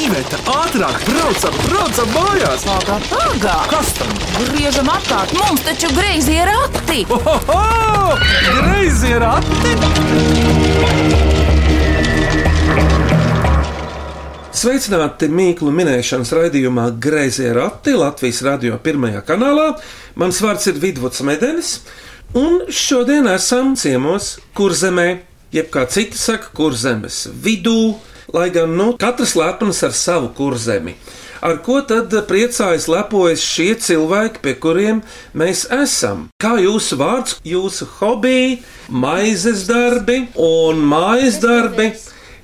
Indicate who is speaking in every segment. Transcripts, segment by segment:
Speaker 1: Iveta, ātrāk, braucam, braucam mājās!
Speaker 2: Ātrāk, ātrāk!
Speaker 1: Kas tam?
Speaker 2: Griežam ātrāk! Mums taču greizi ir rati!
Speaker 1: Ohoho! Greizi ir ati!
Speaker 3: Sveicināti Mīklu minēšanas raidījumā Grazījā Rati Latvijas radio pirmajā kanālā. Mans vārds ir Vidvuds Medenis, un šodien esam ciemos Kurzemē, jeb kā citi saka, Kurzemes vidū, lai gan nu, katrs lepnas ar savu kurzemi. Ar ko tad priecājas, lepojas šie cilvēki, pie kuriem mēs esam? Kā jūsu vārds, jūsu hobiji, maizes darbi un mājas darbi?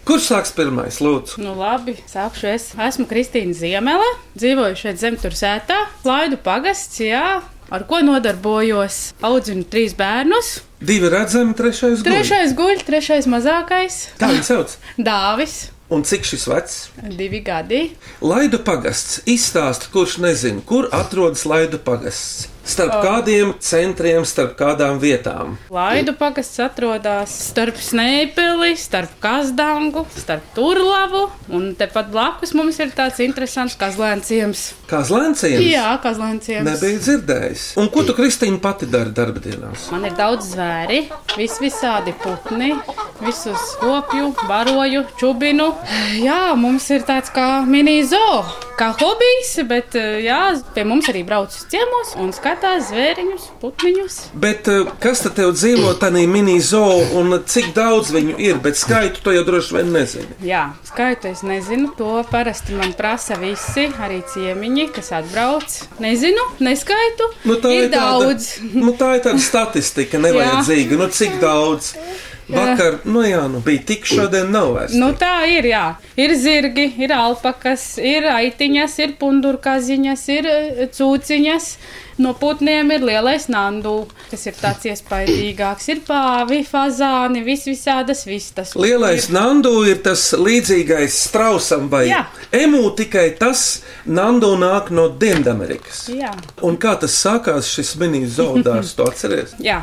Speaker 3: Kurš sāks pirmais, lūdzu?
Speaker 4: Nu, labi, sākšu es. Esmu Kristīna Ziemele, dzīvoju šeit zemtursētā, Laidu pagasts, jā. Ar ko nodarbojos? Audzinu trīs bērnus.
Speaker 3: Divi redzami, trešais guļ.
Speaker 4: Trešais guļ, trešais mazākais
Speaker 3: Tā viņš sauc.
Speaker 4: - Dāvis,
Speaker 3: Un cik šis vecs?
Speaker 4: divi gadi.
Speaker 3: Laidu pagasts. Izstāst, kurš nezina, kur atrodas Laidu pagasts.
Speaker 4: Oh.
Speaker 3: Starp kādiem centriem, starp kādām vietām.
Speaker 4: Laidu pagasts atrodas starp Sneipeli, starp Kazdangu, starp Turlavu. Un tepat blakus mums ir tāds interesants kazlēnciems.
Speaker 3: Kā zlēnciem?
Speaker 4: Jā, kazlēnciems.
Speaker 3: Nebija dzirdējis. Un ko tu, Kristīna, pati dari darba dienās?
Speaker 4: Man ir daudz zvēri, vis visādi putni, visus kopju, baroju, čubinu. Jā, mums ir tāds kā mini-zoo, kā hobijs, bet eh, jā, pie mums arī brauc uz ciemos un skatās zvēriņus, putniņus.
Speaker 3: Bet eh, kas tad tev dzīvo tādā mini-zoo un cik daudz viņu ir? Bet skaitu to jau droši vien nezini.
Speaker 4: Jā, skaitu es nezinu. To parasti man prasa visi, arī ciemiņi, kas atbrauc. Nezinu, neskaitu. ir daudz.
Speaker 3: nu, tā ir tāda statistika, nevajadzīga. nu, cik daudz? Vakar, nu jā, nu bija tik, šodien nav vairs.
Speaker 4: Nu,
Speaker 3: tik.
Speaker 4: tā ir. Jā. Ir zirgi, ir alpakas, ir aitiņas, ir pundurkaziņas, ir e, cūciņas. No putniem ir lielais nandu, kas ir tāds iespaidīgāks. Ir pāvi, fazāni, vis visādas vistas.
Speaker 3: Lielais Nandu ir tas līdzīgais strausam vai
Speaker 4: Jā.
Speaker 3: emu, tikai tas Nandu nāk no Dienvidamerikas.
Speaker 4: Jā.
Speaker 3: Un kā tas sākās šis mini-zoodārs, to atceries?
Speaker 4: Jā.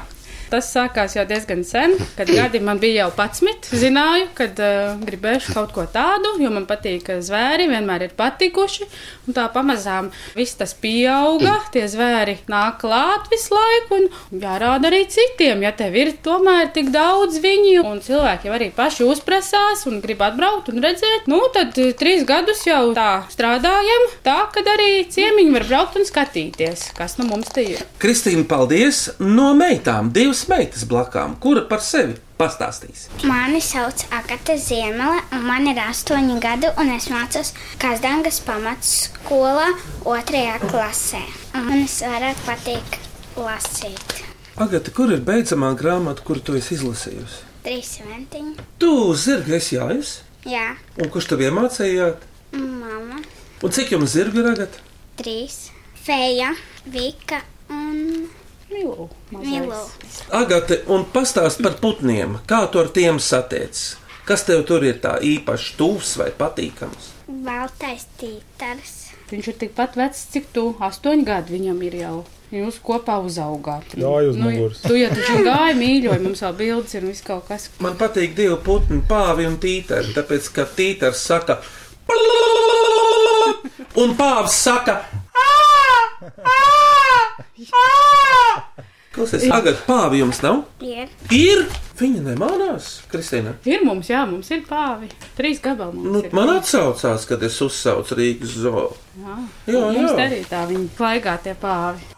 Speaker 4: Tas sākās jau diezgan sen, kad gadi man bija jau 11. Zināju, ka uh, gribēšu kaut ko tādu, jo man patīk eh, zvēri, vienmēr ir patikuši. Un tā pamazām viss tas pieauga, tie zvēri nāk klāt visu laiku un jārāda arī citiem. Ja tev ir tomēr tik daudz viņu, un cilvēki jau arī paši uzprasās un grib atbraukt un redzēt, nu tad eh, trīs gadus jau tā strādājam, tā kad arī ciemiņi var braukt un skatīties, kas nu mums te ir.
Speaker 3: Kristīna, paldies! No meitām, divas meitas blakām, kura par sevi pastāstīs.
Speaker 5: Mani sauc Akata Ziemele, un man ir astoņi gadi, un es mācos Kazdangas pamatskolā otrajā klasē. Un Man es vairāk patīk lasīt.
Speaker 3: Agata, kur ir beidzamā grāmata, kuru tu esi izlasījusi?
Speaker 5: Trīs ventiņi.
Speaker 3: Tu zirgi esi jājas,
Speaker 5: Jā,
Speaker 3: un kurš tev iemācījāt?
Speaker 5: mama.
Speaker 3: Un cik jums zirgi ir agata?
Speaker 5: Trīs. Feja, Vika un
Speaker 4: Milu. mazais.
Speaker 5: Milu.
Speaker 3: Agate, un pastāst par putniem, kā tu ar tiem satiec? Kas tev tur ir tā īpaši tuvs vai patīkams?
Speaker 5: Baltais tītars.
Speaker 4: Viņš ir tikpat vecs, cik tu astoņi gadi viņam ir jau. Jūs kopā uzaugāt.
Speaker 6: Gāja uz muguras.
Speaker 4: Nu, tu jau taču gāji mīļoji, mums vēl bildes ir un viss kaut kas.
Speaker 3: Man patīk divi putni, pāvi un tītari, tāpēc ka tītars saka, un pāvis saka, klausies, Agate, pāvi jums nav?
Speaker 5: Ir
Speaker 3: Ir! Viņa nemānās, Kristīna.
Speaker 4: Ir mums, jā, mums ir pāvi. Trīs gabali mums
Speaker 3: Nu,
Speaker 4: ir.
Speaker 3: man atsaucās, kad es uzsaucu Rīgas zoo.
Speaker 4: jā,
Speaker 3: Jā,
Speaker 4: mums te
Speaker 3: jā.
Speaker 4: arī tā viņi klaigā tie pāvi.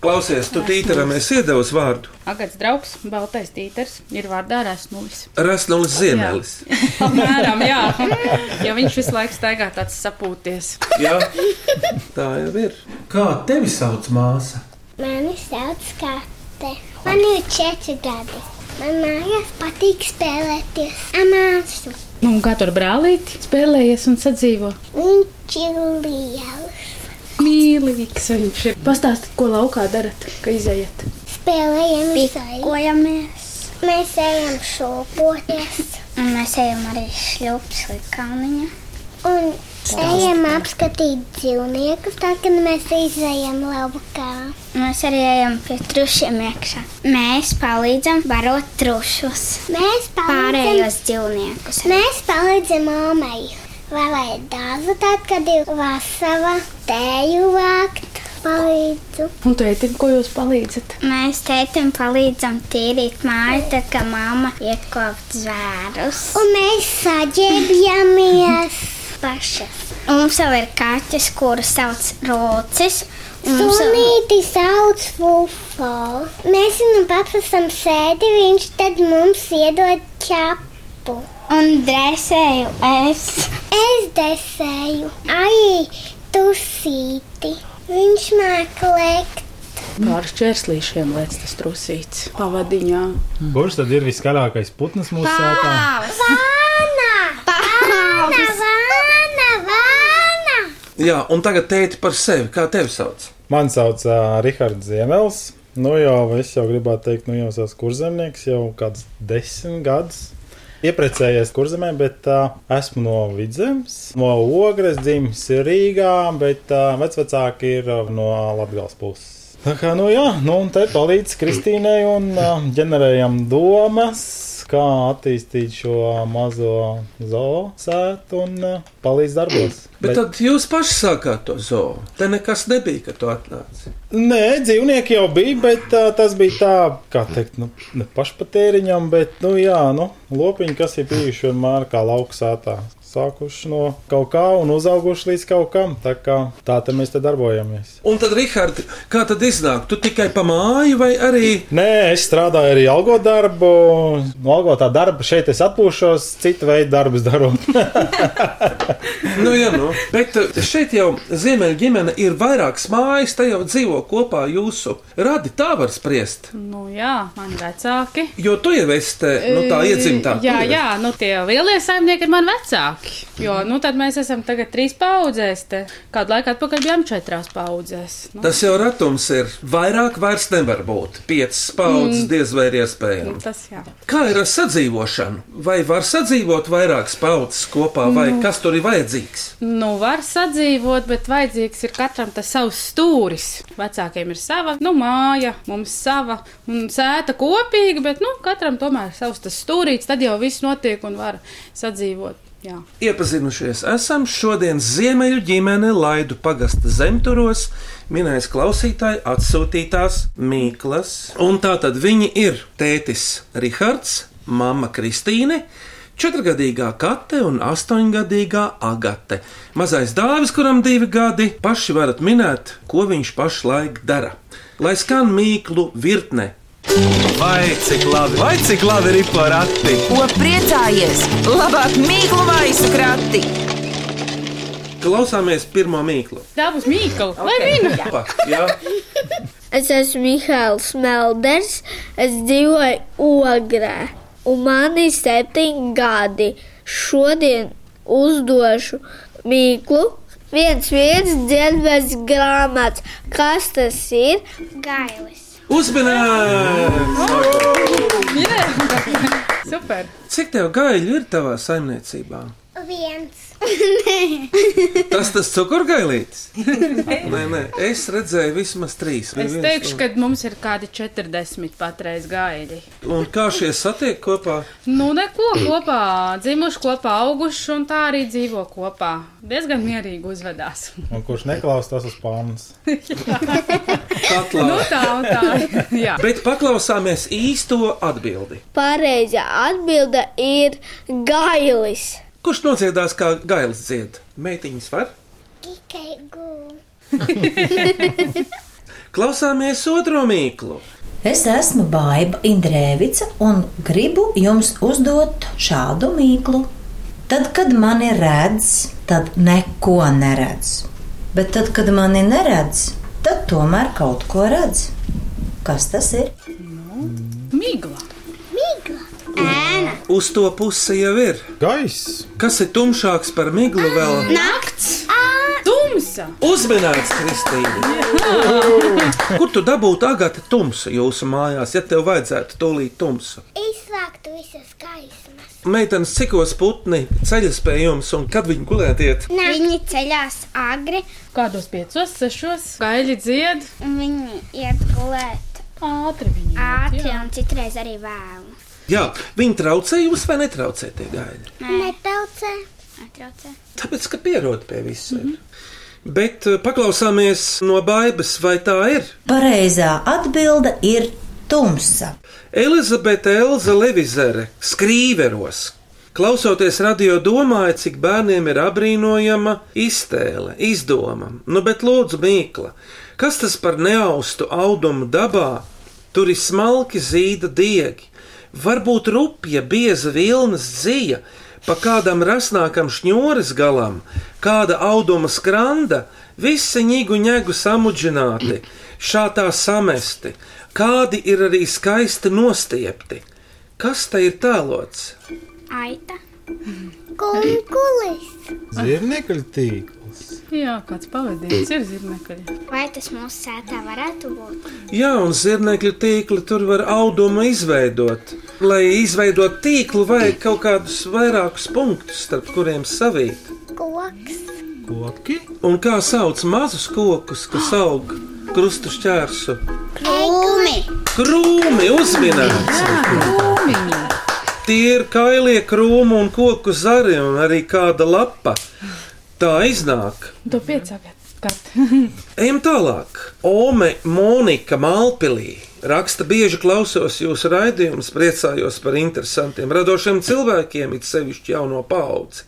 Speaker 3: Klausies, tu tītaram esi iedevis vārdu.
Speaker 4: Agats draugs, baltais tīters, ir vārdā resnulis.
Speaker 3: Rasnūs Ziemelis.
Speaker 4: Apmēram, jā. Jo viņš visu laiku staigā tāds sapūties.
Speaker 3: Jā, tā jau ir. Kā tevi sauc māsa?
Speaker 5: Mani sauc Kate. Man ir četri gadi. Man mājās patīk spēlēties ar māsu.
Speaker 4: Nu, un kā tur brālīti spēlējies un sadzīvo?
Speaker 5: Viņš ir liels.
Speaker 4: Mīlīgs viņš ir. Pastāstiet, ko laukā darat, kad izējat.
Speaker 5: Spēlējamies, kojamies. Mēs ejam šūpoties. Un mēs ejam arī šļūpes līkāniņa.
Speaker 6: un ejam apskatīt dzīvniekus, tā ka mēs izējām laukā.
Speaker 5: Mēs arī ejam pie trušiem iekšā. Mēs palīdzam barot trušus.
Speaker 6: Mēs palīdzam,
Speaker 5: Pārējos dzīvniekus.
Speaker 6: mēs palīdzam mammai. Vēlēt dārzu, tad, kad ir vasara, tēju vākt, palīdzu.
Speaker 7: Un tētim, ko jūs palīdzat?
Speaker 5: Mēs teitam palīdzam tīrīt māju, tad, kad mamma iekopt zvērus.
Speaker 6: Un mēs saģērbjamies.
Speaker 5: Pašas. Un mums vēl ir kaķis, kuru sauc Rocis. un mums vēl-
Speaker 6: Sunīti sauc Fufo. Mēs viņam paprasam sēdi, viņš tad mums iedod čapu.
Speaker 5: Un dresēju es.
Speaker 6: Es desēju, ai, tusīti. Viņš māk lekt.
Speaker 7: Pāris čērslīšiem lēc tas trusīts.
Speaker 4: Pavadiņā.
Speaker 8: Kurš tad ir viskaļākais putns mūsu sētā?
Speaker 6: Vāna! Vāna, vāna, vāna!
Speaker 3: Jā, un tagad teikt par sevi, kā tevi sauc.
Speaker 8: Man sauc uh, Rahards Ziemels. Nu jau es jau gribētu teikt, nu jau esmu kurzemnieks jau kāds desmit gadus. Iepriecējies kurzemē, bet uh, esmu no Vidzemes, no Ogres, dzimis Rīgā, bet uh, vecvecāki ir uh, no Latvijas puses. Tā kā, nu jā, nu un te palīdz Kristīnai un uh, ģenerējam domas, kā attīstīt šo mazo zoosētu un uh, palīdz darbos.
Speaker 3: Bet, bet tad jūs paši sākāt to zoo. Te nekas nebija, kad tu atnāci.
Speaker 8: Nē, dzīvnieki jau bija, bet uh, tas bija tā, kā teikt, nu, ne pašpatēriņam, bet, nu, jā, nu, lopiņi, kas ir bijuši vienmēr kā lauksētā. Sākuši no kaut kā un uzauguši līdz kaut kam. Tā kā tā te mēs te darbojamies.
Speaker 3: Un tad, Rihard, kā tad iznāk? Tu tikai pa māju vai arī
Speaker 8: Nē, es strādāju arī algo darbu. No algotā darba šeit es atpūšos, citu veidu darbus darot.
Speaker 3: Nu, jā, nu. Bet eh, šeit jau ziemeļa ģimene ir vairākas mājas, te jau dzīvo kopā jūsu radi. Tā var spriest.
Speaker 4: Nu, jā, man vecāki.
Speaker 3: Jo tu jau esi te, nu, tā iedzimta.
Speaker 4: Jā, jā, nu tie lielie saimnieki ir mani vecāki. Jo, nu tad mēs esam tagad trīs paudzēs, te kādu laiku atpakaļ bijām četrās paudzēs. Nu,
Speaker 3: Tas jau ratums ir. Vairāk vairs nevar būt. Piecas paudzes mm. diez vai ir iespējams.
Speaker 4: tas jā.
Speaker 3: Kā ir ar sadzīvošanu? Vai var sadzīvot vairākas paudzes kopā, vai mm. kas tur ir vajadzīgs?
Speaker 4: Nu, var sadzīvot, bet vajadzīgs ir katram tas savs stūris. Vecākiem ir sava, nu, māja, mums sava, un sēta kopīga, bet, nu, katram tomēr ir savs tas stūrīts, tad jau viss notiek un var sadzīvot. Jā.
Speaker 3: Iepazinušies, esam šodien Ziemeļu ģimene Laidu pagasta zemturos, minējas klausītāji atsūtītās Mīklas. Un tā tad viņi ir tētis Rihards, mamma Kristīne. Četrgadīgā kate un astoņgadīgā agate. Mazais dāvis, kuram divi gadi, paši varat minēt, ko viņš pašlaik dara. Lai skan mīklu virkne,
Speaker 1: Vai cik labi, vai cik labi ir pa rati?
Speaker 2: Ko priecājies? Labāk mīklu maisu krati!
Speaker 3: klausāmies pirmo mīklu.
Speaker 4: Tā būs mīkla, okay. lai vīna!
Speaker 3: Pa, jā.
Speaker 6: Es esmu Mihāls Melders, es dzīvoju Ogrē, un man ir septiņi gadi. Šodien uzdošu mīklu. viens viens dzirdams grāmatas, kas tas ir?
Speaker 5: Gailis.
Speaker 3: Uzmanības!
Speaker 4: Super!
Speaker 3: Cik tev gaļu ir tavā saimniecībā?
Speaker 6: Viens.
Speaker 3: Tas tas cukurgailītis? nē, nē, es redzēju vismaz trīs.
Speaker 4: Es teikšu, ka mums ir kādi 40 patreiz gaidi.
Speaker 3: Un kā šie satiek kopā?
Speaker 4: Nu, neko kopā, dzimuši kopā, auguši un tā arī dzīvo kopā. Diezgan mierīgi uzvedās.
Speaker 8: Un kurš neklausās, tas uz pārnes.
Speaker 3: Katlā.
Speaker 4: Nu, tā un tā. Jā.
Speaker 3: Bet paklausāmies īsto atbildi.
Speaker 6: Pareizā atbilde ir gailis.
Speaker 3: Kurš nociedās kā gailis dzied? Meitiņas var?
Speaker 6: Tikai gūri.
Speaker 3: Klausāmies otro mīklu.
Speaker 9: Es esmu Baiva Indrēvica un gribu jums uzdot šādu mīklu. Tad, kad mani redz, tad neko neredz. Bet tad, kad mani neredz, tad tomēr kaut ko redz. Kas tas ir?
Speaker 4: Migla.
Speaker 3: Uz to pusi jau ir.
Speaker 8: Gaiss!
Speaker 3: Kas ir tumšāks par miglu vēl?
Speaker 5: Nakts!
Speaker 4: Tumsa.
Speaker 3: Uzmanīgs, Kristīne! Kur tu dabūtu agāti tumsu jūsu mājās, ja tev vajadzētu tūlīt tumsu?
Speaker 6: Izslēgtu visas gaismas.
Speaker 3: Meitenes, cikos putni ceļas pie jums un kad viņi gulētiet?
Speaker 5: Viņi ceļās agri
Speaker 4: Kādos piecos, sešos gaļi dzied,
Speaker 5: un viņi iet gulēt
Speaker 4: ātri viņi. iet,
Speaker 5: ātri
Speaker 4: jā.
Speaker 5: un citreiz arī vēlu.
Speaker 3: Jā, viņi traucē jūs vai netraucē tie gaidi?
Speaker 6: Netaucē.
Speaker 5: Atraucē.
Speaker 3: Tāpēc, ka pierod pie visiem. Mm -hmm. Bet eh, paklausāmies no baibas, vai tā ir?
Speaker 9: Pareizā atbilde ir tumsa.
Speaker 3: Elizabete Elza Levizere skrīveros. Klausoties radio, domāju, cik bērniem ir apbrīnojama iztēle, izdoma. Nu, bet lūdzu, mīkla, kas tas par neaustu audumu dabā? Tur ir smalki zīda diegi, varbūt rupja, bieza vilnas zija, pa kādam rasnākam šņūres galam, kāda auduma skranda, visi ņigu ņēgu samudžināti, šā tā samesti, kādi ir arī skaisti nostiepti. Kas te ir tēlots?
Speaker 5: Aita.
Speaker 6: Kunkulis.
Speaker 8: Zirnekļu tīkls.
Speaker 4: Jā, kāds pavadījis ir zirnekļi.
Speaker 5: Vai tas mūsu sētā varētu būt?
Speaker 3: Jā, un zirnekļu tīkli tur var audumu izveidot. Lai izveidotu tīklu, vajag kaut kādus vairākus punktus, starp kuriem savīt.
Speaker 6: Koks.
Speaker 8: Koki?
Speaker 3: Un kā sauc mazus kokus, kas aug krustu šķērsu?
Speaker 5: Umi!
Speaker 3: Krūmi uzminēts!
Speaker 4: Krūmiņi.
Speaker 3: Tie ir kailie krūmi un koku zari, un arī kāda lapa. Tā iznāk.
Speaker 4: To piecākat. Kat.
Speaker 3: Ejam tālāk. Ome Monika Malpilī raksta, bieži klausos jūsu raidījumus, priecājos par interesantiem, radošiem cilvēkiem, it sevišķi jauno paudzi.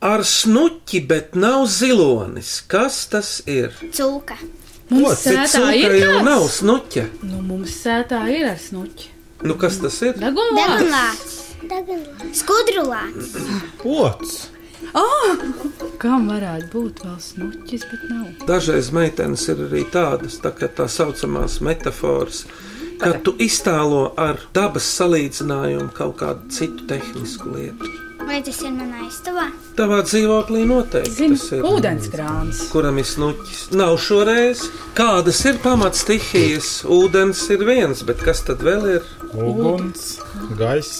Speaker 3: Ar snuķi, bet nav zilonis. Kas tas ir?
Speaker 5: Cūka.
Speaker 4: Mums
Speaker 3: Bet
Speaker 4: sētā ir
Speaker 3: cūkai jau
Speaker 4: kāds?
Speaker 3: nav snuķa.
Speaker 4: Nu, mums sētā ir ar snuķi.
Speaker 3: Nu, kas tas ir?
Speaker 4: Dagunlā.
Speaker 5: Degunlāts.
Speaker 6: Dagunlā.
Speaker 5: Skudrulāts.
Speaker 8: Pots.
Speaker 4: Kam varētu būt vēl snuķis, bet nav.
Speaker 3: Dažreiz meitenes ir arī tādas tā, kā tā saucamās metafāras, kad tu iztēlo ar dabas salīdzinājumu kaut kādu citu tehnisku lietu.
Speaker 5: Vai tas ir manā aiztuvā?
Speaker 3: Tavā dzīvoklī noteikti
Speaker 4: Zinu,
Speaker 3: tas ir.
Speaker 4: ūdenskrāns.
Speaker 3: Kuram ir snuķis? Nav šoreiz. Kādas ir pamatstihijas? Ūdens ir viens, bet kas tad vēl ir?
Speaker 8: Uguns. Gaiss.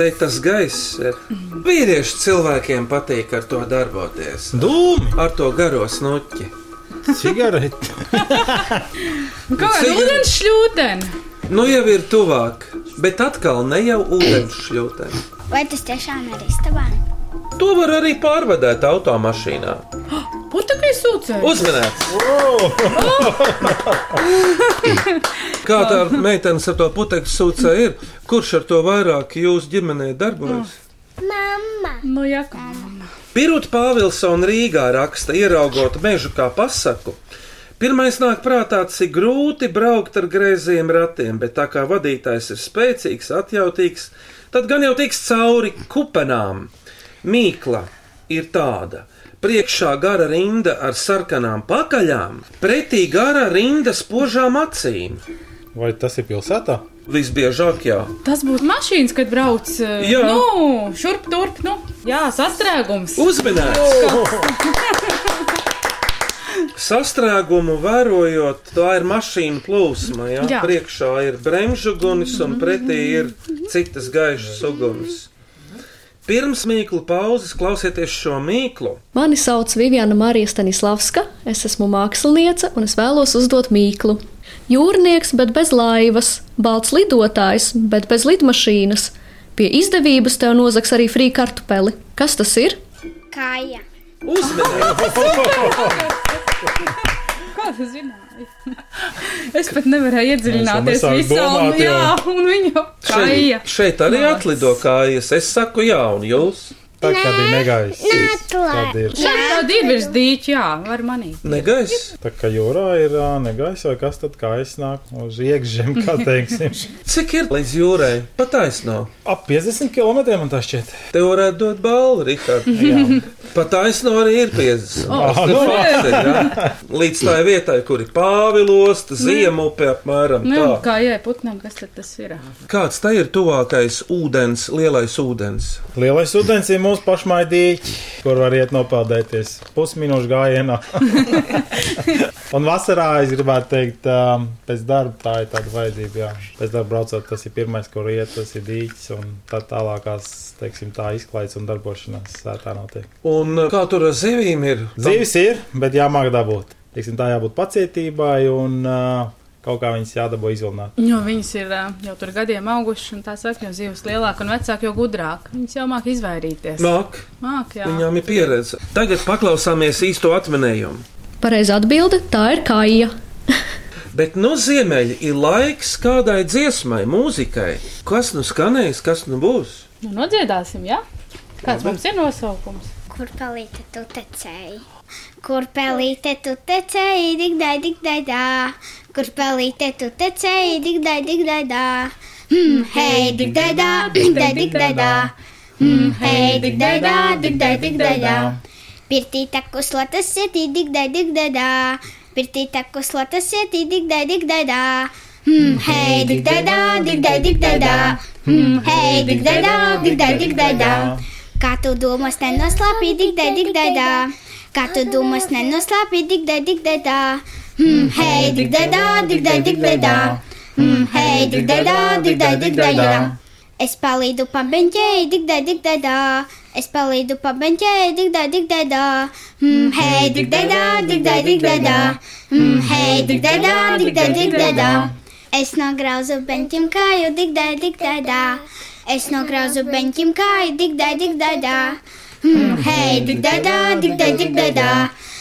Speaker 3: Te tas gaiss ir. Vīriešu cilvēkiem patīk ar to darboties.
Speaker 8: Dūmi.
Speaker 3: Ar to garo snuķi.
Speaker 8: Cigareti.
Speaker 4: Kā ar
Speaker 3: Cigareti.
Speaker 4: ūdens šļūteni?
Speaker 3: Nu jau ir tuvāk, bet atkal ne jau ūdens šļūtē.
Speaker 5: Vai tas tiešām ir istabā?
Speaker 3: To var arī pārvadāt automašīnā.
Speaker 4: Putekļi sūcē.
Speaker 3: Uzmanīts! Kā tā meitene ar to putekļu sūcē ir? Kurš ar to vairāk jūsu ģimenē darbojas?
Speaker 6: Mamma.
Speaker 4: Nu, jā, kā mamma.
Speaker 3: Pirūta Pāvilsona Rīgā raksta, ieraugot mežu kā pasaku. Pirmais nāk prātā, cik grūti braukt ar grēzījiem ratiem, bet tā kā vadītājs ir spēcīgs, atjautīgs, tad gan jau tiks cauri kupenām. Mīkla ir tāda. Priekšā gara rinda ar sarkanām pakaļām, pretī gara rinda spožām acīm.
Speaker 8: Vai tas ir pilsētā?
Speaker 3: Visbiežāk jau.
Speaker 4: Tas būtu mašīnas, kad brauc. eh,
Speaker 3: Jā.
Speaker 4: Nu, šurp turp, nu. Jā, sastrēgums.
Speaker 3: Uzmanīgs! Sastrēgumu vērojot, tā ir mašīna plūsma. Jā? Jā.
Speaker 4: Jā.
Speaker 3: Priekšā ir bremžu gunis un pretī ir citas gaišas uguns. Pirms mīklu pauzes klausieties šo mīklu.
Speaker 10: Mani sauc Viviana Marija Stanislavska, es esmu māksliniece un es vēlos uzdot mīklu. Jūrnieks, bet bez laivas, balts lidotājs, bet bez lidmašīnas. Pie izdevības tev nozags arī frī kartupeli. Kas tas ir?
Speaker 5: Kāja.
Speaker 3: Uzmanīgi!
Speaker 4: Kā tu zināji? Es pat nevarēju iedziļināties
Speaker 8: Es jau
Speaker 4: visā. un-
Speaker 8: domāt jau.
Speaker 4: Jā, un viņa kāja.
Speaker 3: Šeit, šeit arī atlido kājas. Es saku, jā, un jūs
Speaker 8: Tā kā bija negaiss.
Speaker 6: Atklāt.
Speaker 8: Tad ir.
Speaker 4: Šeit tāda ir virs dīķa, jā, var manīt.
Speaker 3: negaiss.
Speaker 8: Tā kā jūrā ir ā, negaiss, vai kas tad kā iznāk uz iekšzem, kā teiksim.
Speaker 3: Cik ir līdz jūrai? Pataisno.
Speaker 8: Ap 50 km man tas šķiet.
Speaker 3: Te varētu dot balvu, Rikārd. Pataisno nu arī ir 50. Tas ir fakts, ir, jā. Līdz tai vietai, kur ir pāvilos, ziemupē apmēram
Speaker 4: Nu, jā,
Speaker 3: tā.
Speaker 4: kā jai putnam, kas tad tas ir?
Speaker 3: Kāds tai ir tuvākais ūdens, lielais ūdens?
Speaker 8: Lielais ūdens ir mūsu pašmai dīķi, kur var iet nopeldēties pusminūšu gājienā. Un vasarā es gribētu teikt, um, pēc darba tā ir tāda vajadzība. Jā. Pēc darba braucot, tas ir pirmais, kur iet, tas ir dīķis un tā tālākās teiksim, tā izklaides un darbošanās sētā notiek.
Speaker 3: Un uh, kā tur ar zivīm ir?
Speaker 8: Zīves ir, bet jāmāk dabūt. Teiksim, tā jābūt pacietībai un uh, kaut kā viņas jādabū izvilināt.
Speaker 4: Jo viņas ir ā, jau tur gadiem augušas, un tā saka, jo zivs lielāka un vecāka, jo gudrāka. Viņas jau māk izvairīties.
Speaker 3: Māk,
Speaker 4: Māk, jā.
Speaker 3: viņām ir pieredze. Tagad paklausāmies īsto atminējumu.
Speaker 10: Pareizi atbilde - tā ir kāja.
Speaker 3: Bet no ziemeļa ir laiks kādai dziesmai, mūzikai. Kas nu skanēs, kas nu būs?
Speaker 4: Nu, nodziedāsim, jā? Kāds mums ir nosaukums?
Speaker 5: Kur pelīte tu tecēji? Kur pelīte tu tecēji, dig dai, dig dai, dā. Kur pelīte tu tecēji, dig dai, dig dai, dā. Hmm, hei, dig dai, dā, dig dai, dig dai, dā. Hmm, hei, dig dai, dā, dig dai, dig dai, dā. Pirtī taku slata sietī, dig dai, dig dai, dā. Pirtī taku slata sietī, dig dai, dig dai, dā. Hmm, hei, dig dai, dā, dig dai, dig dai, dā. Hmm, hei, dig dai, dā, dig dai, dig dai, dā. Kā tu domas nenoslāpī, dig dai, dig dai, dā. Kā tu domas nenoslāpī, dig dai, dig dai, dā. Hmm, hei, dig dai, dā, dig dai, dig dai, dā. Hmm, hei, dig dai, dā, dig dai, dig dai, dā. Es palīdu pabeņķēji, dig dai, dig dai, dā. Es palīdu pabeņķēji, dig dai, dig dai, dā. Hmm, hei, dig dai, dā, dig dai, dig dai, dā. Hmm, hei, dig dai, dā, dig dai, dig dai, dā. Es nograuzu beņķim kāju, dig dai, dig dai, dā. Es nograuzu beņķim kāju, dig dai, dig dai, dā. Hmm, hei, dig dai, dā, dig dai, dig dai, dā.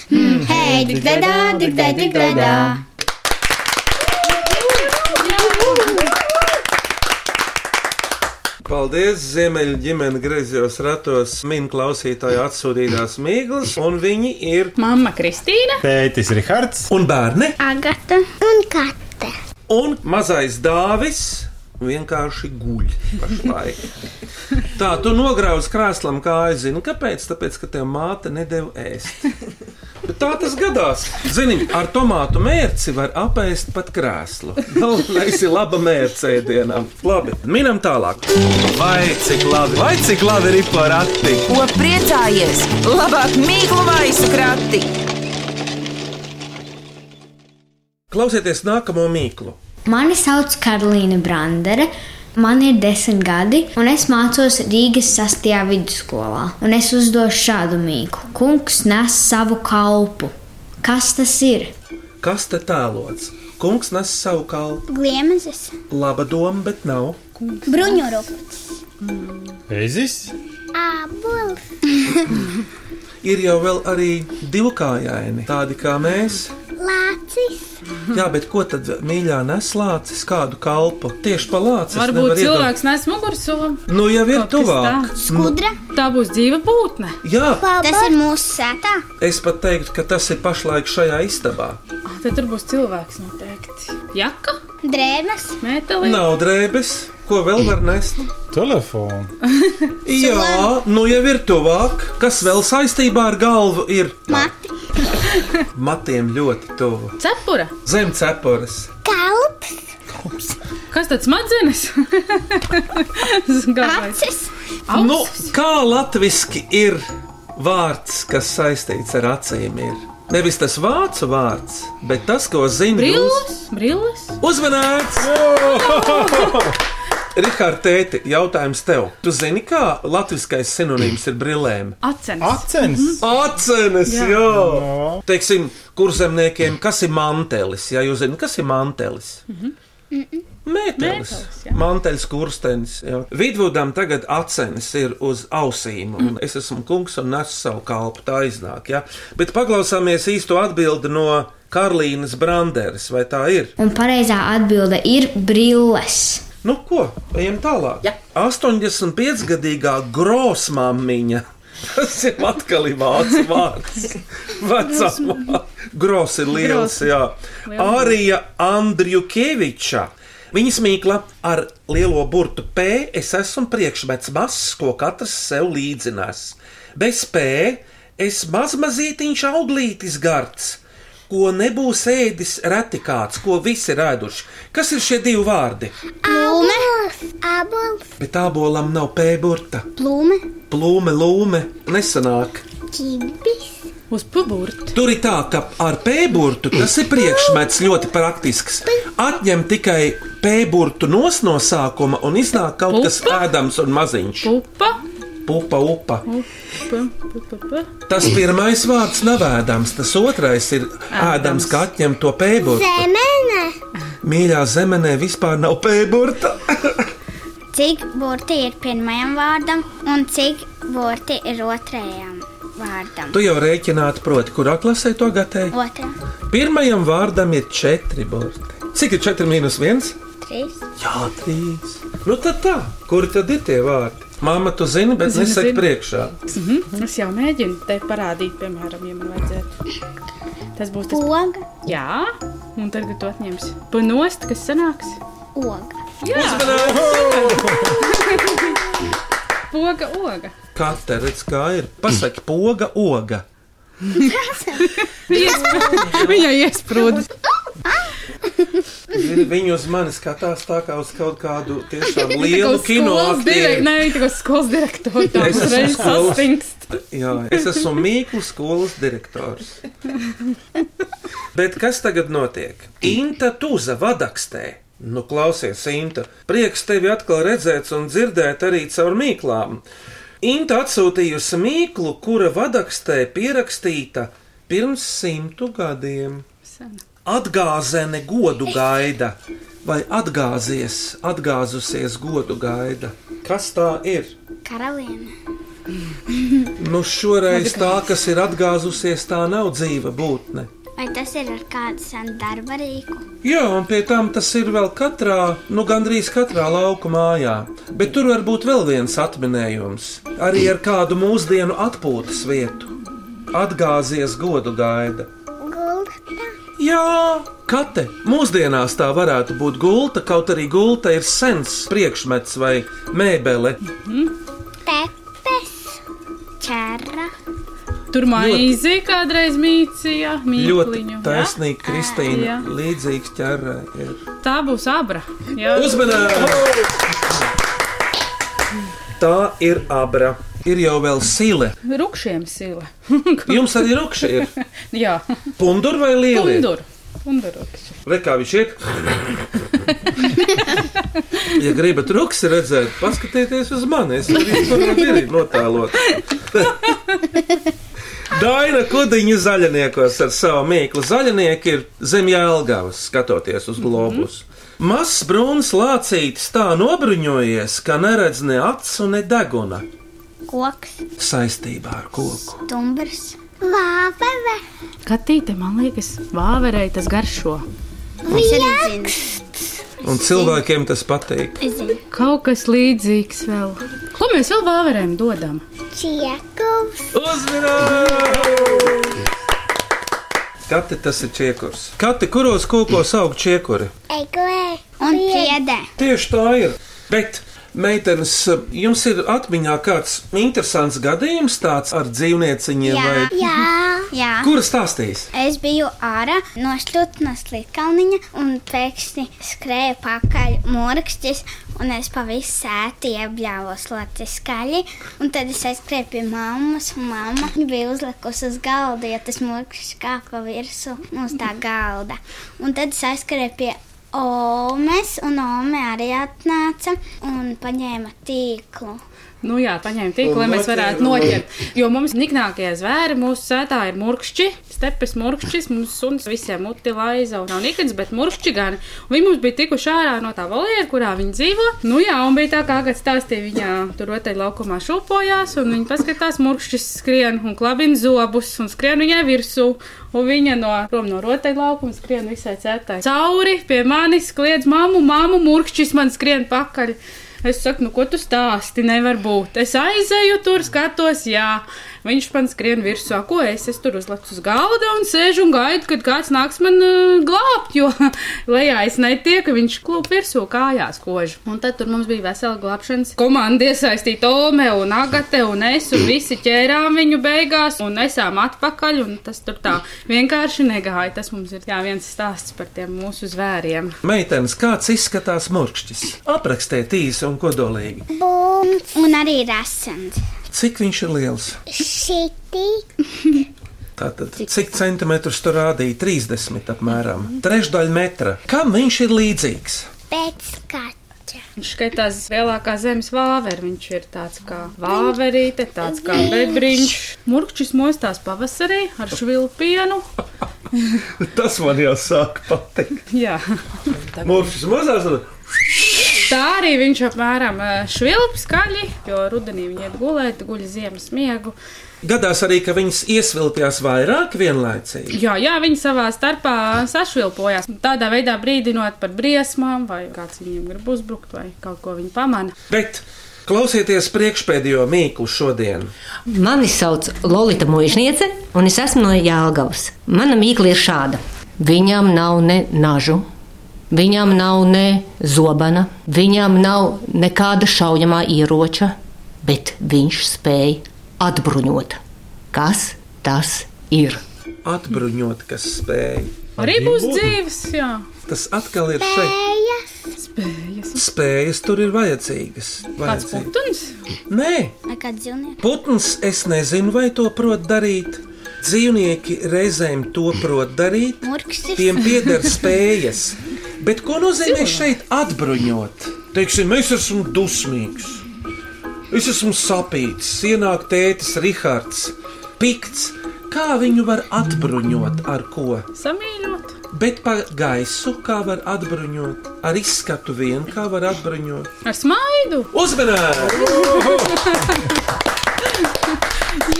Speaker 5: Hmm, hei, dig dai, dā, dig dai, dig dai, dā.
Speaker 3: Paldies! Ziemeļa ģimene griezījos ratos, min klausītāju atsūtītās mīklas, un viņi ir
Speaker 4: Mamma Kristīna.
Speaker 8: Tētis Rihards,
Speaker 3: un bērni,
Speaker 5: Agata
Speaker 6: Un kate.
Speaker 3: un mazais dāvis. Vienkārši guļ pašlaik. Tā, tu nograuzi krēslam, kā aizinu. Kāpēc? Tāpēc, ka tev māte nedēļa ēst. Bet tā tas gadās. Zini, ar tomātu mērci var apēst pat krēslu. Galvenais ir laba mērce ēdienam. Labi, minam tālāk.
Speaker 1: Vai cik labi, vai cik labi ir porakti?
Speaker 2: Ko priecājies? Labāk mīklu maisu krati!
Speaker 3: Klausieties nākamo mīklu.
Speaker 11: Mani sauc Karolīna Brandere. Man ir desmit gadi, un es mācos Rīgas sastajā vidusskolā. Un es uzdošu šādu mīklu: Kungs nes savu kalpu. Kas tas ir?
Speaker 3: Kas te tēlots? Kungs nes savu kalpu.
Speaker 5: Gliemezes,
Speaker 3: Laba doma, bet nav.
Speaker 5: bruņurupu,
Speaker 8: Eizis,
Speaker 6: Abols.
Speaker 3: Ir jau vēl arī divkājaini, tādi kā mēs.
Speaker 6: Lācis.
Speaker 3: Jā, bet ko tad mīļā neslācis, kādu kalpu? Tieši pa lācis.
Speaker 4: Varbūt cilvēks nes mugursomu.
Speaker 3: Nu, jau ir
Speaker 4: Kaut kas
Speaker 3: tuvāk. Nu,
Speaker 4: tāds.
Speaker 5: skudra.
Speaker 4: Tā būs dzīva būtne.
Speaker 3: Jā,
Speaker 5: Tas ir mūsu sētā.
Speaker 3: es pat teiktu, ka tas ir pašlaik šajā istabā.
Speaker 4: Ah, Tad tur būs cilvēks noteikti. Jaka,
Speaker 5: Drēbes,
Speaker 4: metāli.
Speaker 3: Nav drēbes, ko vēl var nest.
Speaker 8: telefons,
Speaker 3: Jā, nu jau ir tuvāk. Kas vēl saistībā ar galvu ir?
Speaker 5: mati,
Speaker 3: Matiem ļoti tuvu.
Speaker 4: Cepura.
Speaker 3: Zem cepures.
Speaker 6: Kalps.
Speaker 4: Kas tad smadzenes? Galvenais.
Speaker 5: acis,
Speaker 3: Nu, kā latviešu ir vārds, kas saistīts ar acīm? Ir? Nevis tas vācu vārds, bet tas, ko zina
Speaker 4: Brilles, brilles.
Speaker 3: Uzmanīts! Rikārd, tēti, jautājums tev. Tu zini, kā latviešais sinonīms ir brillēm?
Speaker 4: Acenis.
Speaker 8: acens.
Speaker 3: Acenes, jā. jā! Teiksim, kurzemniekiem, kas ir mantelis? Jā, jūs zināt, kas ir mantelis? Mētelis,
Speaker 4: Mētelis, jā.
Speaker 3: mantelis, kurstenis. jā. Vidvudam tagad acenis ir uz ausīm, un es esmu kungs un nesu savu kalpu, tā iznāk, jā. Bet paklausāmies īsto atbildi no Karlīnas Branderes, vai tā ir?
Speaker 11: Un pareizā atbilde ir brilles.
Speaker 3: Nu, ko, ejam tālāk. Ja. 85-gadīgā grosmāmiņa. Tas ir atkal ir vācu vārds. Vecā gros ir liels, jā. Arija Andriukeviča. Viņa smīkla ar lielo burtu P. Es esmu priekšmets mazs, ko katrs sev līdzinās. Bez P es mazmazītiņš auglītis gards, ko nebūs ēdis reti kāds, ko visi ir ēduši. Kas ir šie divi vārdi?
Speaker 6: Abols. Abols.
Speaker 3: Bet abolam nav pēburta,
Speaker 5: plūme,
Speaker 3: plūme, lūme nesanāk.
Speaker 6: Čibis.
Speaker 4: Uz puburta.
Speaker 3: Tur ir tā, ka ar pēburtu tas ir priekšmets ļoti praktisks. Atņem tikai pēburtu nos no sākuma un iznāk kaut kas
Speaker 4: Pupa?
Speaker 3: ēdams un maziņš.
Speaker 4: Pupa.
Speaker 3: pupa, upa.
Speaker 4: Upa, upa, upa.
Speaker 3: Tas pirmais vārds nav ēdams, tas otrais ir ēdams, kā atņem to pēburu.
Speaker 5: Zemene!
Speaker 3: Mīļā zemenē vispār nav pēburta.
Speaker 5: Cik burti ir pirmajam vārdam un cik burti ir otrajam vārdam?
Speaker 3: Tu jau rēķināt proti, kurā klasē to gatēji?
Speaker 5: Otra,
Speaker 3: Pirmajam vārdam ir četri burti. Cik ir četri mīnus viens?
Speaker 5: trīs.
Speaker 3: Jā, trīs. Nu tad tā, kur tad ir tie vārdi? Māma, tu zini, bet
Speaker 4: Zinu,
Speaker 3: nesaki
Speaker 4: zinu.
Speaker 3: priekšā.
Speaker 4: Mhm, Es jau mēģinu te parādīt, piemēram, ja man vajadzētu. Tas būs tas
Speaker 5: Oga,
Speaker 4: Jā, un tagad to atņemsi. Punost, kas sanāks?
Speaker 5: oga.
Speaker 4: Jā,
Speaker 3: Uzmanības!
Speaker 4: poga, oga.
Speaker 3: Katra redz, kā ir. Pasaki, poga, oga.
Speaker 4: Viņa iesprūdus.
Speaker 3: Zini, Viņi uz mani skatās tā kā uz kaut kādu tiešām lielu kino
Speaker 4: direktors.
Speaker 3: aktieru.
Speaker 4: Nē, tā kā skolas direktors. Tā
Speaker 3: Es esmu
Speaker 4: uzreiz
Speaker 3: skolas-
Speaker 4: sastingst.
Speaker 3: Jā, es esmu Mīklu skolas direktors. Bet kas tagad notiek? Inta Tuza vadakstē. Nu, klausies, Inta, prieks tevi atkal redzēt un dzirdēt arī caur mīklām. Inta atsūtījusi mīklu, kura vadakstē pierakstīta pirms simtu gadiem. Atgāzene godu gaida, vai atgāzies, atgāzusies godu gaida. Kas tā ir?
Speaker 5: Karaliene.
Speaker 3: Nu, šoreiz tā, kas ir atgāzusies, tā nav dzīva būtne.
Speaker 5: Vai tas ir ar kādu senu darba rīku?
Speaker 3: Jā, un pie tam tas ir vēl katrā, nu gandrīz katrā lauka mājā. Bet tur var būt vēl viens atminējums, arī ar kādu mūsdienu atpūtas vietu. Atgāzies godu gaida.
Speaker 6: Gulda.
Speaker 3: Jā, kate. Mūsdienās tā varētu būt gulta, kaut arī gulta ir sens priekšmets vai mēbele.
Speaker 5: Pepes, čērra,
Speaker 4: Tur maizi kādreiz mīcija, mīkliņu.
Speaker 3: Ļoti taisnīgi, Kristīna.
Speaker 4: Jā.
Speaker 3: Līdzīgs ķerē. ir.
Speaker 4: Tā būs abra. Jā.
Speaker 3: Uzmanīgi! Tā ir abra. Ir jau vēl sile.
Speaker 4: Rukšiem sila.
Speaker 3: Jums arī rokši ir.
Speaker 4: Jā.
Speaker 3: Pundur vai lieli?
Speaker 4: Pundur. Pundur.
Speaker 3: Re, kā viņš ir? ja gribat rokši redzēt, paskatieties uz mani. Es arī tur biju notēlot. Daina Kudiņa zaļniekos ar savu mīklu. Zaļnieki ir zem jēlgavas, skatoties uz globus. Mazs brūns lācītis tā nobruņojies, ka neredz ne acu, ne deguna
Speaker 5: koks,
Speaker 3: saistībā ar koku.
Speaker 5: stumbrs,
Speaker 6: Vāpeve.
Speaker 4: Katīte, man liekas, vāverei tas garšo.
Speaker 6: Vieks.
Speaker 3: Un cilvēkiem tas patīk.
Speaker 4: Kaut kas līdzīgs vēl. Ko mēs vēl vāverēm dodam?
Speaker 6: Čiekovs.
Speaker 3: Uzmanīgi! Kati tas ir čiekurs. Kati, kuros kokos aug čiekuri?
Speaker 6: Eglē.
Speaker 5: un priedē.
Speaker 3: Tieši tā ir. Bet, meitenes, jums ir atmiņā kāds interesants gadījums tāds ar dzīvnieciņiem? vai...
Speaker 5: jā. jā.
Speaker 3: Kur stāstīs?
Speaker 5: Es biju ārā nošķūta no slitkalniņa un pēkšņi skrēja pakaļ mūrkstis, un es pavisam sēti iebļāvos Latvijas skaļi. Un tad es aizskrēju pie mammas, un mamma bija uzlikusi uz galda, jo tas mūrkstis kāpa virsū uz tā galda. Un tad es aizskrēju pie Omes, un Ome arī atnāca un paņēma tīklu.
Speaker 4: Nu jā, paņēma tīklu, lai
Speaker 5: Un
Speaker 4: mēs varētu
Speaker 5: noķēra.
Speaker 4: noķert. Jo mums niknākie zvēri mūsu sētā ir murkšķi, stepes murkšķis, mums suns visiem muti laiza un nav nikns, bet murkšķi gan. Un Viņi mums bija tikuši ārā no tā voljera, kurā viņi dzīvo. Nu jā, un bija tā kā kāds stāstīja, viņa tur rotaļ laukumā šūpojās, un viņi paskatās murkšķis skrien un klabina zobus un skrien viņai virsū. Un viņa no, prom no rotaļ laukuma skrien visai cētai. Cauri pie manis kliedz māmu, māmu, murkšķis man skrien pakaļ. Es saku, nu, ko tu stāsti? Nevar būt. Es aizēju tur, skatos, jā. Viņš man skrien virsū, "Ā, ko es, es tur uzliku uz galda un sēžu un gaidu, kad kāds nāks man uh, glābt, jo lejā es netieku, viņš klūp virsū kājās kožu. Un tad tur mums bija vesela glābšanas komanda iesaistīta Ome un Agate un es, un visi ķērām viņu beigās un nesām atpakaļ, un tas tur tā vienkārši negāja. Tas mums ir jā, viens stāsts par tiem mūsu zvēriem.
Speaker 3: Meitenes, kāds izskatās murkšķis? Aprakstiet īsi un kodolīgi.
Speaker 5: Bums. Un arī rasants.
Speaker 3: Cik viņš ir liels?
Speaker 5: Šitī.
Speaker 3: Tātad, cik centimetrus tur rādīja? 30 apmēram. Trešdaļa metra. Kam viņš ir līdzīgs?
Speaker 6: Pēc kaķa.
Speaker 4: Viņš skaitās lielākā zemes vāvera. Viņš ir tāds kā vāverīte, tāds kā bedriņš. Murkšķis mostās pavasarī ar švilpienu.
Speaker 3: Tas man jau sāk patikt.
Speaker 4: Jā.
Speaker 3: Mūžs mazās un
Speaker 4: Tā arī viņš apmēram eh, švilp skaļi, jo rudenī viņi iet gulēt, guļ ziemas miegu.
Speaker 3: gadās arī, ka viņas iesvilpjās vairāk vienlaicīgi.
Speaker 4: Jā, jā, viņi savā starpā sašvilpojās. Tādā veidā brīdinot par briesmām, vai kāds viņiem grib uzbrukt, vai kaut ko viņi pamana.
Speaker 3: Bet klausieties priekšpēdējo mīklu šodien.
Speaker 12: Mani sauc Lorita Mūžniece, un es esmu no Jālgavas. Mana mīkla ir šāda. Viņam nav ne nažu, viņam nav ne zobena, viņam nav nekāda šaujamā ieroča, bet viņš spēja atbruņot. Kas tas ir?
Speaker 3: Atbruņot, kas spēj.
Speaker 4: Arī būs dzīves, jā.
Speaker 3: Tas atkal ir šeit.
Speaker 4: Spējas. Spējas.
Speaker 3: Spējas tur ir vajadzīgas.
Speaker 4: Kāds
Speaker 3: Vajadzīgas.
Speaker 4: putns?
Speaker 3: Nē,
Speaker 5: Kā dzīvnieks?
Speaker 3: putns, es nezinu, vai to prot darīt. Dzīvnieki reizēm to prot darīt.
Speaker 5: Murkšķis.
Speaker 3: Tiem pieder spējas. Bet ko nozīmē šeit atbruņot? Teiksim, es esmu dusmīgs. Es esmu sapīts, ienāk tētis Rahards, pikts. Kā viņu var atbruņot ar ko?
Speaker 4: Samīļot.
Speaker 3: Bet par gaisu kā var atbruņot? Ar izskatu vien kā var atbruņot?
Speaker 4: Ar smaidu!
Speaker 3: Uzmanīgi!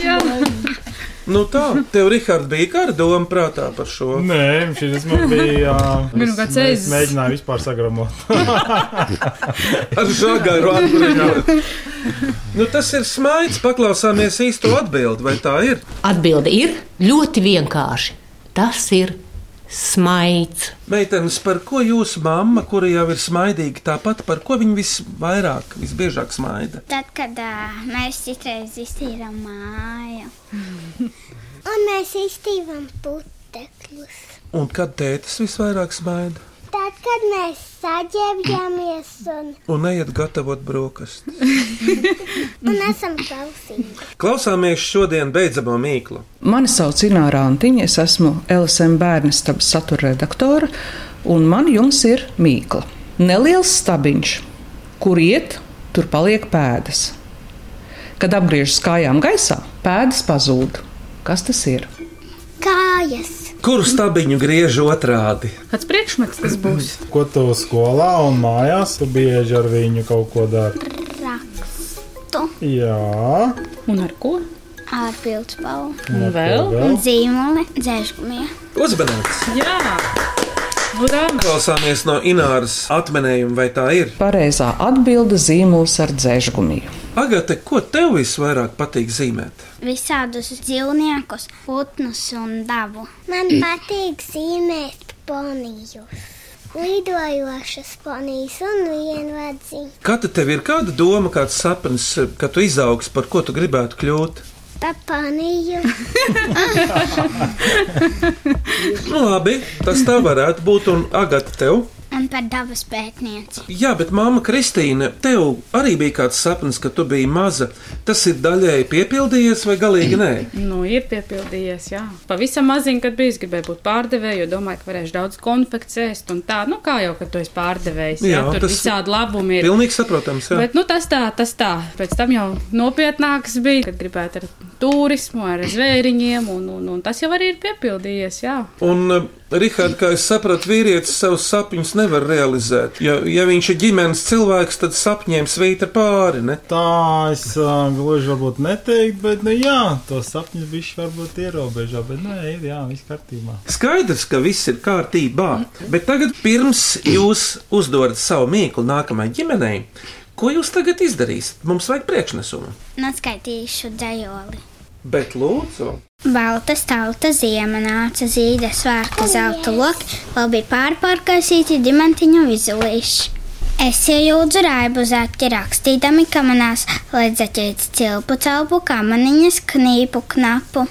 Speaker 4: Jā,
Speaker 3: Nu tā, tev, Rihard, bija kāda doma prātā par šo?
Speaker 8: Nē, šis man bija. ā,
Speaker 4: Gan
Speaker 8: es-
Speaker 4: kāds
Speaker 8: Es
Speaker 4: aiz-
Speaker 8: mēģināju vispār sagramot.
Speaker 3: Ar žagaru atbruņot. Nu, tas ir smaids, paklausāmies īsto atbildi, vai tā ir?
Speaker 12: Atbilde ir ļoti vienkārši. Tas ir smaids.
Speaker 3: Meitenes, par ko jūsu mamma, kura jau ir smaidīga, tāpat par ko viņa visvairāk, visbiežāk smaida?
Speaker 5: Tad, kad uh, mēs citreiz iztīrām māju,
Speaker 6: Un mēs iztīvam putekļus.
Speaker 3: Un kad tētis visvairāk smaida?
Speaker 6: Tad, kad mēs saģērbjamies un,
Speaker 3: Un neiet gatavot brokastis.
Speaker 6: un esam klausīgi.
Speaker 3: Klausāmies šodien beidzamo mīklu.
Speaker 13: Mani sauc Ināra Antiņa, es esmu LSM bērnu stabas satura redaktore, un man jums ir mīkla. Neliels stabiņš, kur iet, tur paliek pēdas. Kad apgriežas kājām gaisā, pēdas pazūd. Kas tas ir?
Speaker 5: kājas.
Speaker 3: Kuru stabiņu griež otrādi?
Speaker 4: Kāds priekšmets tas būs?
Speaker 8: Ko tu skolā un mājās tu bieži ar viņu kaut ko dari?
Speaker 5: Rakstu
Speaker 8: Jā,
Speaker 4: un ar ko?
Speaker 5: Ar pildspalvu.
Speaker 8: Un ar Vēl? ko vēl?
Speaker 6: Oh.
Speaker 5: Un zīmoli dzēšgumijā.
Speaker 3: Uzmanīgs!
Speaker 4: Jā! Urā!
Speaker 3: Klausāmies no Ināras atminējuma, vai tā ir?
Speaker 13: Pareizā atbilde - zīmols ar dzēžgumiju.
Speaker 3: Agate, ko tev visvairāk patīk zīmēt?
Speaker 5: Visādus dzīvniekus, putnus un dabu.
Speaker 6: Man patīk zīmēt ponijus. Lidojošas ponijas un vienvadziņu.
Speaker 3: Kata tev ir kāda doma, kāds sapnis, kad tu izaugs, par ko tu gribētu kļūt?
Speaker 6: Pa poniju.
Speaker 3: Nu, labi, tas tā varētu būt, un Agate tev.
Speaker 5: Un par dabas pētnieci.
Speaker 3: Jā, bet māma Kristīne, tev arī bija kāds sapnis, kad tu biji maza. Tas ir daļēji piepildījies vai galīgi nē?
Speaker 4: Nu, ir piepildījies, jā. Pavisam maziņ, kad biju, es gribēju būt pārdevēju, jo domāju, ka varēšu daudz konfekcēst un tā, nu kā jau, kad tu esi pārdevējs, jā, jā tur tas... visādi labumi ir.
Speaker 3: Pilnīgi saprotams, jā.
Speaker 4: Bet, nu, tas tā, tas tā. Pēc tam jau nopietnāks bija, kad gribētu ar turismu, ar zvēriņiem, un, un, un tas jau arī ir piepildījies. Jā.
Speaker 3: Un, uh, Rihard, kā es sapratu, vīrietis savus sapņus nevar realizēt. Ja, ja viņš ir ģimenes cilvēks, tad sapņiem svīta pāri. Ne?
Speaker 8: tā es ā, gluži varbūt neteiktu, bet nu jā, to sapņu bišķi varbūt ierobežo, bet nē, ir jā, viss kārtībā.
Speaker 3: Skaidrs, ka viss ir kārtībā. Bet tagad, pirms jūs uzdodat savu mīklu nākamajai ģimenei, ko jūs tagad izdarīsiet? Mums vajag priekšnesumu.
Speaker 5: Noskaitīšu dzējoli.
Speaker 3: Bet, lūdzu,
Speaker 5: Balta stauta ziema nāca zīda svārta
Speaker 6: Oh,
Speaker 5: zelta loki, vēl bija pārpārkaisīti dimantiņu vizulīši. Es iejūdzu raibu zaķi rakstīdami kamanās, lai zaķīts cilpu celpu kamaniņas knīpu knapu.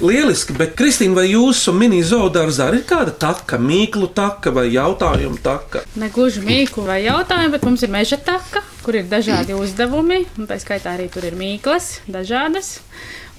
Speaker 3: lieliski. Bet, Kristīna, vai jūsu mini-zoodārzā ir kāda taka, mīklu taka vai jautājuma taka?
Speaker 4: Ne gluži mīklu vai jautājumu, bet mums ir meža taka, kur kur ir dažādi uzdevumi, un tā skaitā arī tur ir mīklas, dažādas.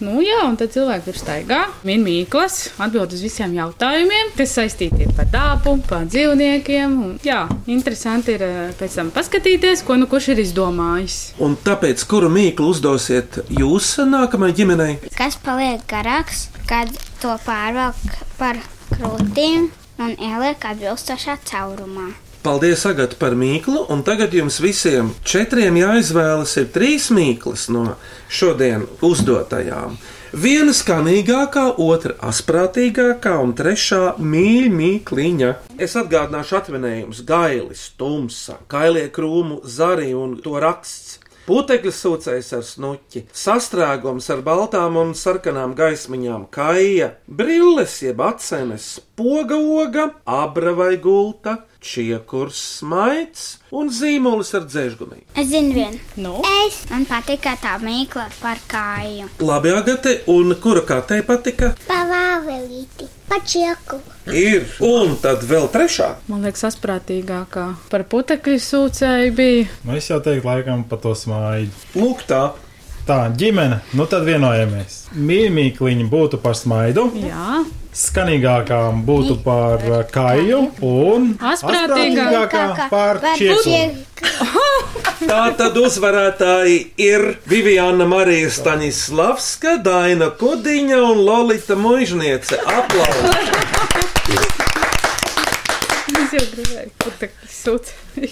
Speaker 4: Nu, jā, un tad cilvēki tur staigā, min mīklas, atbild uz visiem jautājumiem, kas saistīti ir par dāpu, par dzīvniekiem. Un, jā, interesanti ir eh, pēc tam paskatīties, ko nu kurš ir izdomājis.
Speaker 3: Un tāpēc, kuru mīklu uzdosiet jūs nākamajai ģimenei?
Speaker 5: Kas paliek garāks, kad to pārvelk par krūtīm un ieliek atbilstošā caurumā?
Speaker 3: Paldies, Agat, par mīklu. Un tagad jums visiem četriem jāizvēlas ir trīs mīklas no šodien uzdotajām. Viena skanīgākā, otra asprātīgākā un trešā mīļākā. Es atgādināšu atminējumus: gailis, tumsa, kailie krūmu, zari un to raksts. Putekļi sūcējs ar snuķi, sastrēgums ar baltām un sarkanām gaismiņām, kaija, brilles, jeb acenes, poga oga, abra vai gulta, čiekurs, smaids un zīmolis ar dzēžgumiju.
Speaker 5: Es zinu, viena.
Speaker 4: No.
Speaker 5: Es man patīk kā tā mīkla par kāju.
Speaker 3: Labi, Agate, un kura kārtē patika?
Speaker 5: Pavāvelīti, pačieku.
Speaker 3: Ir, un tad vēl trešā.
Speaker 4: Man liekas, asprātīgākā par putekļu sūcēju bija.
Speaker 8: Nu, es jau teiktu, laikam, par to smaidu.
Speaker 3: Lūk, tā.
Speaker 8: Tā, ģimene, nu tad vienojamies. Mīmīkliņa būtu par smaidu,
Speaker 4: Jā,
Speaker 8: skanīgākām būtu par uh, kāju un
Speaker 4: Asprātīgākā
Speaker 8: asprātīgākā par čieklu.
Speaker 3: Tā tad uzvarētāji ir Viviana Marija Staņislavska, Daina Kudiņa un Lolita Mužniece. Aplausos!
Speaker 4: es jau gribēju putekļu sūcēju.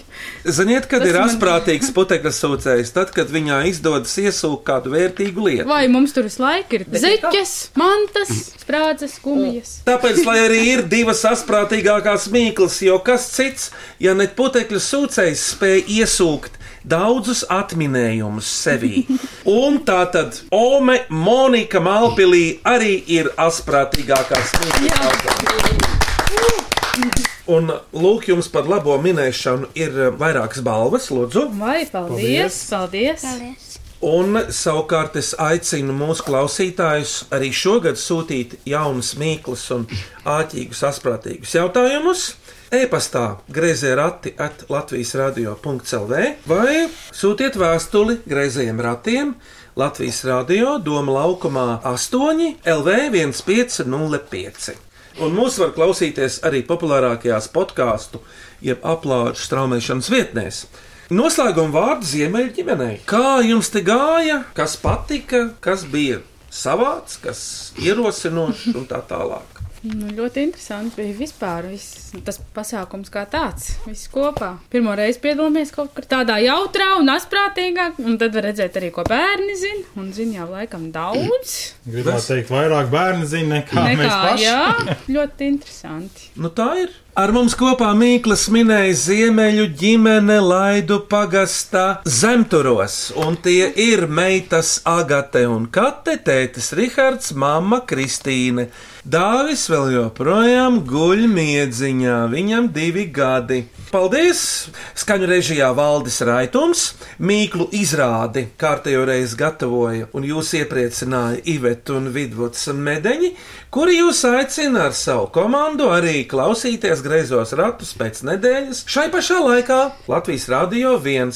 Speaker 3: Ziniet, kad
Speaker 4: Tas
Speaker 3: ir
Speaker 4: man-
Speaker 3: asprātīgs putekļa sūcējs, tad, kad viņā izdodas iesūkt kādu vērtīgu lietu.
Speaker 4: Vai mums tur visu laiku ir zeķes, mantas, sprādzes, gumijas?
Speaker 3: Tāpēc, lai arī ir divas asprātīgākās mīklas, jo kas cits, ja ne putekļa sūcējs spēja iesūkt daudzus atminējumus sevī. Un tā tad Ome Monika Malpilī arī ir asprātīgākās mīklas. Un lūk, jums par labo minēšanu ir eh, vairākas balvas, lūdzu.
Speaker 4: Vai, paldies, paldies! paldies.
Speaker 3: Un savukārt es aicinu mūsu klausītājus arī šogad sūtīt jaunas, mīklas un āķīgus, asprātīgus jautājumus. E-pastā grazē rati at Latvijas radio.clv vai sūtiet vēstuli grazējiem ratiem Latvijas radio Doma laukumā 8 LV 1505. Un mūs var klausīties arī populārākajās podkāstu, jeb aplāču straumēšanas vietnēs. Noslēguma vārds Ziemeļģimenei. Kā jums te gāja, kas patika, kas bija savāds, kas ierosinošs un tā tālāk?
Speaker 4: Nu, ļoti interesanti bija vispār viss, tas pasākums kā tāds, viss kopā. Pirmo reizi piedalāmies kaut kur tādā jautrā un asprātīgā, un tad var redzēt arī, ko bērni zina, un zina jau laikam daudz.
Speaker 8: Gribētu teikt, vairāk bērni zina nekā, nekā mēs
Speaker 4: Nekā,
Speaker 8: paši.
Speaker 4: jā, ļoti interesanti.
Speaker 3: Nu, tā ir. Ar mums kopā Mīklas minēja Ziemeļu ģimene Laidu pagastā zemturos, un tie ir meitas Agate un Kate, tētis Rihards, mamma Kristīne. Dāvis vēl joprojām guļ miedziņā, viņam divi gadi. Paldies! Skaņu režijā Valdis Raitums, Mīklu izrādi kārtējo reizi gatavoja un jūs iepriecināja Iveta un Vidvuds Medeņi, kuri jūs aicina ar savu komandu arī klausīties greizos ratus pēc nedēļas. Šai pašā laikā Latvijas Rādio 1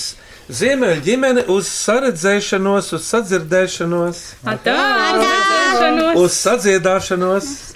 Speaker 3: Ziemeļa ģimene uz saredzēšanos, uz sadzirdēšanos,
Speaker 4: Atā! Atā!
Speaker 3: uz sadziedāšanos.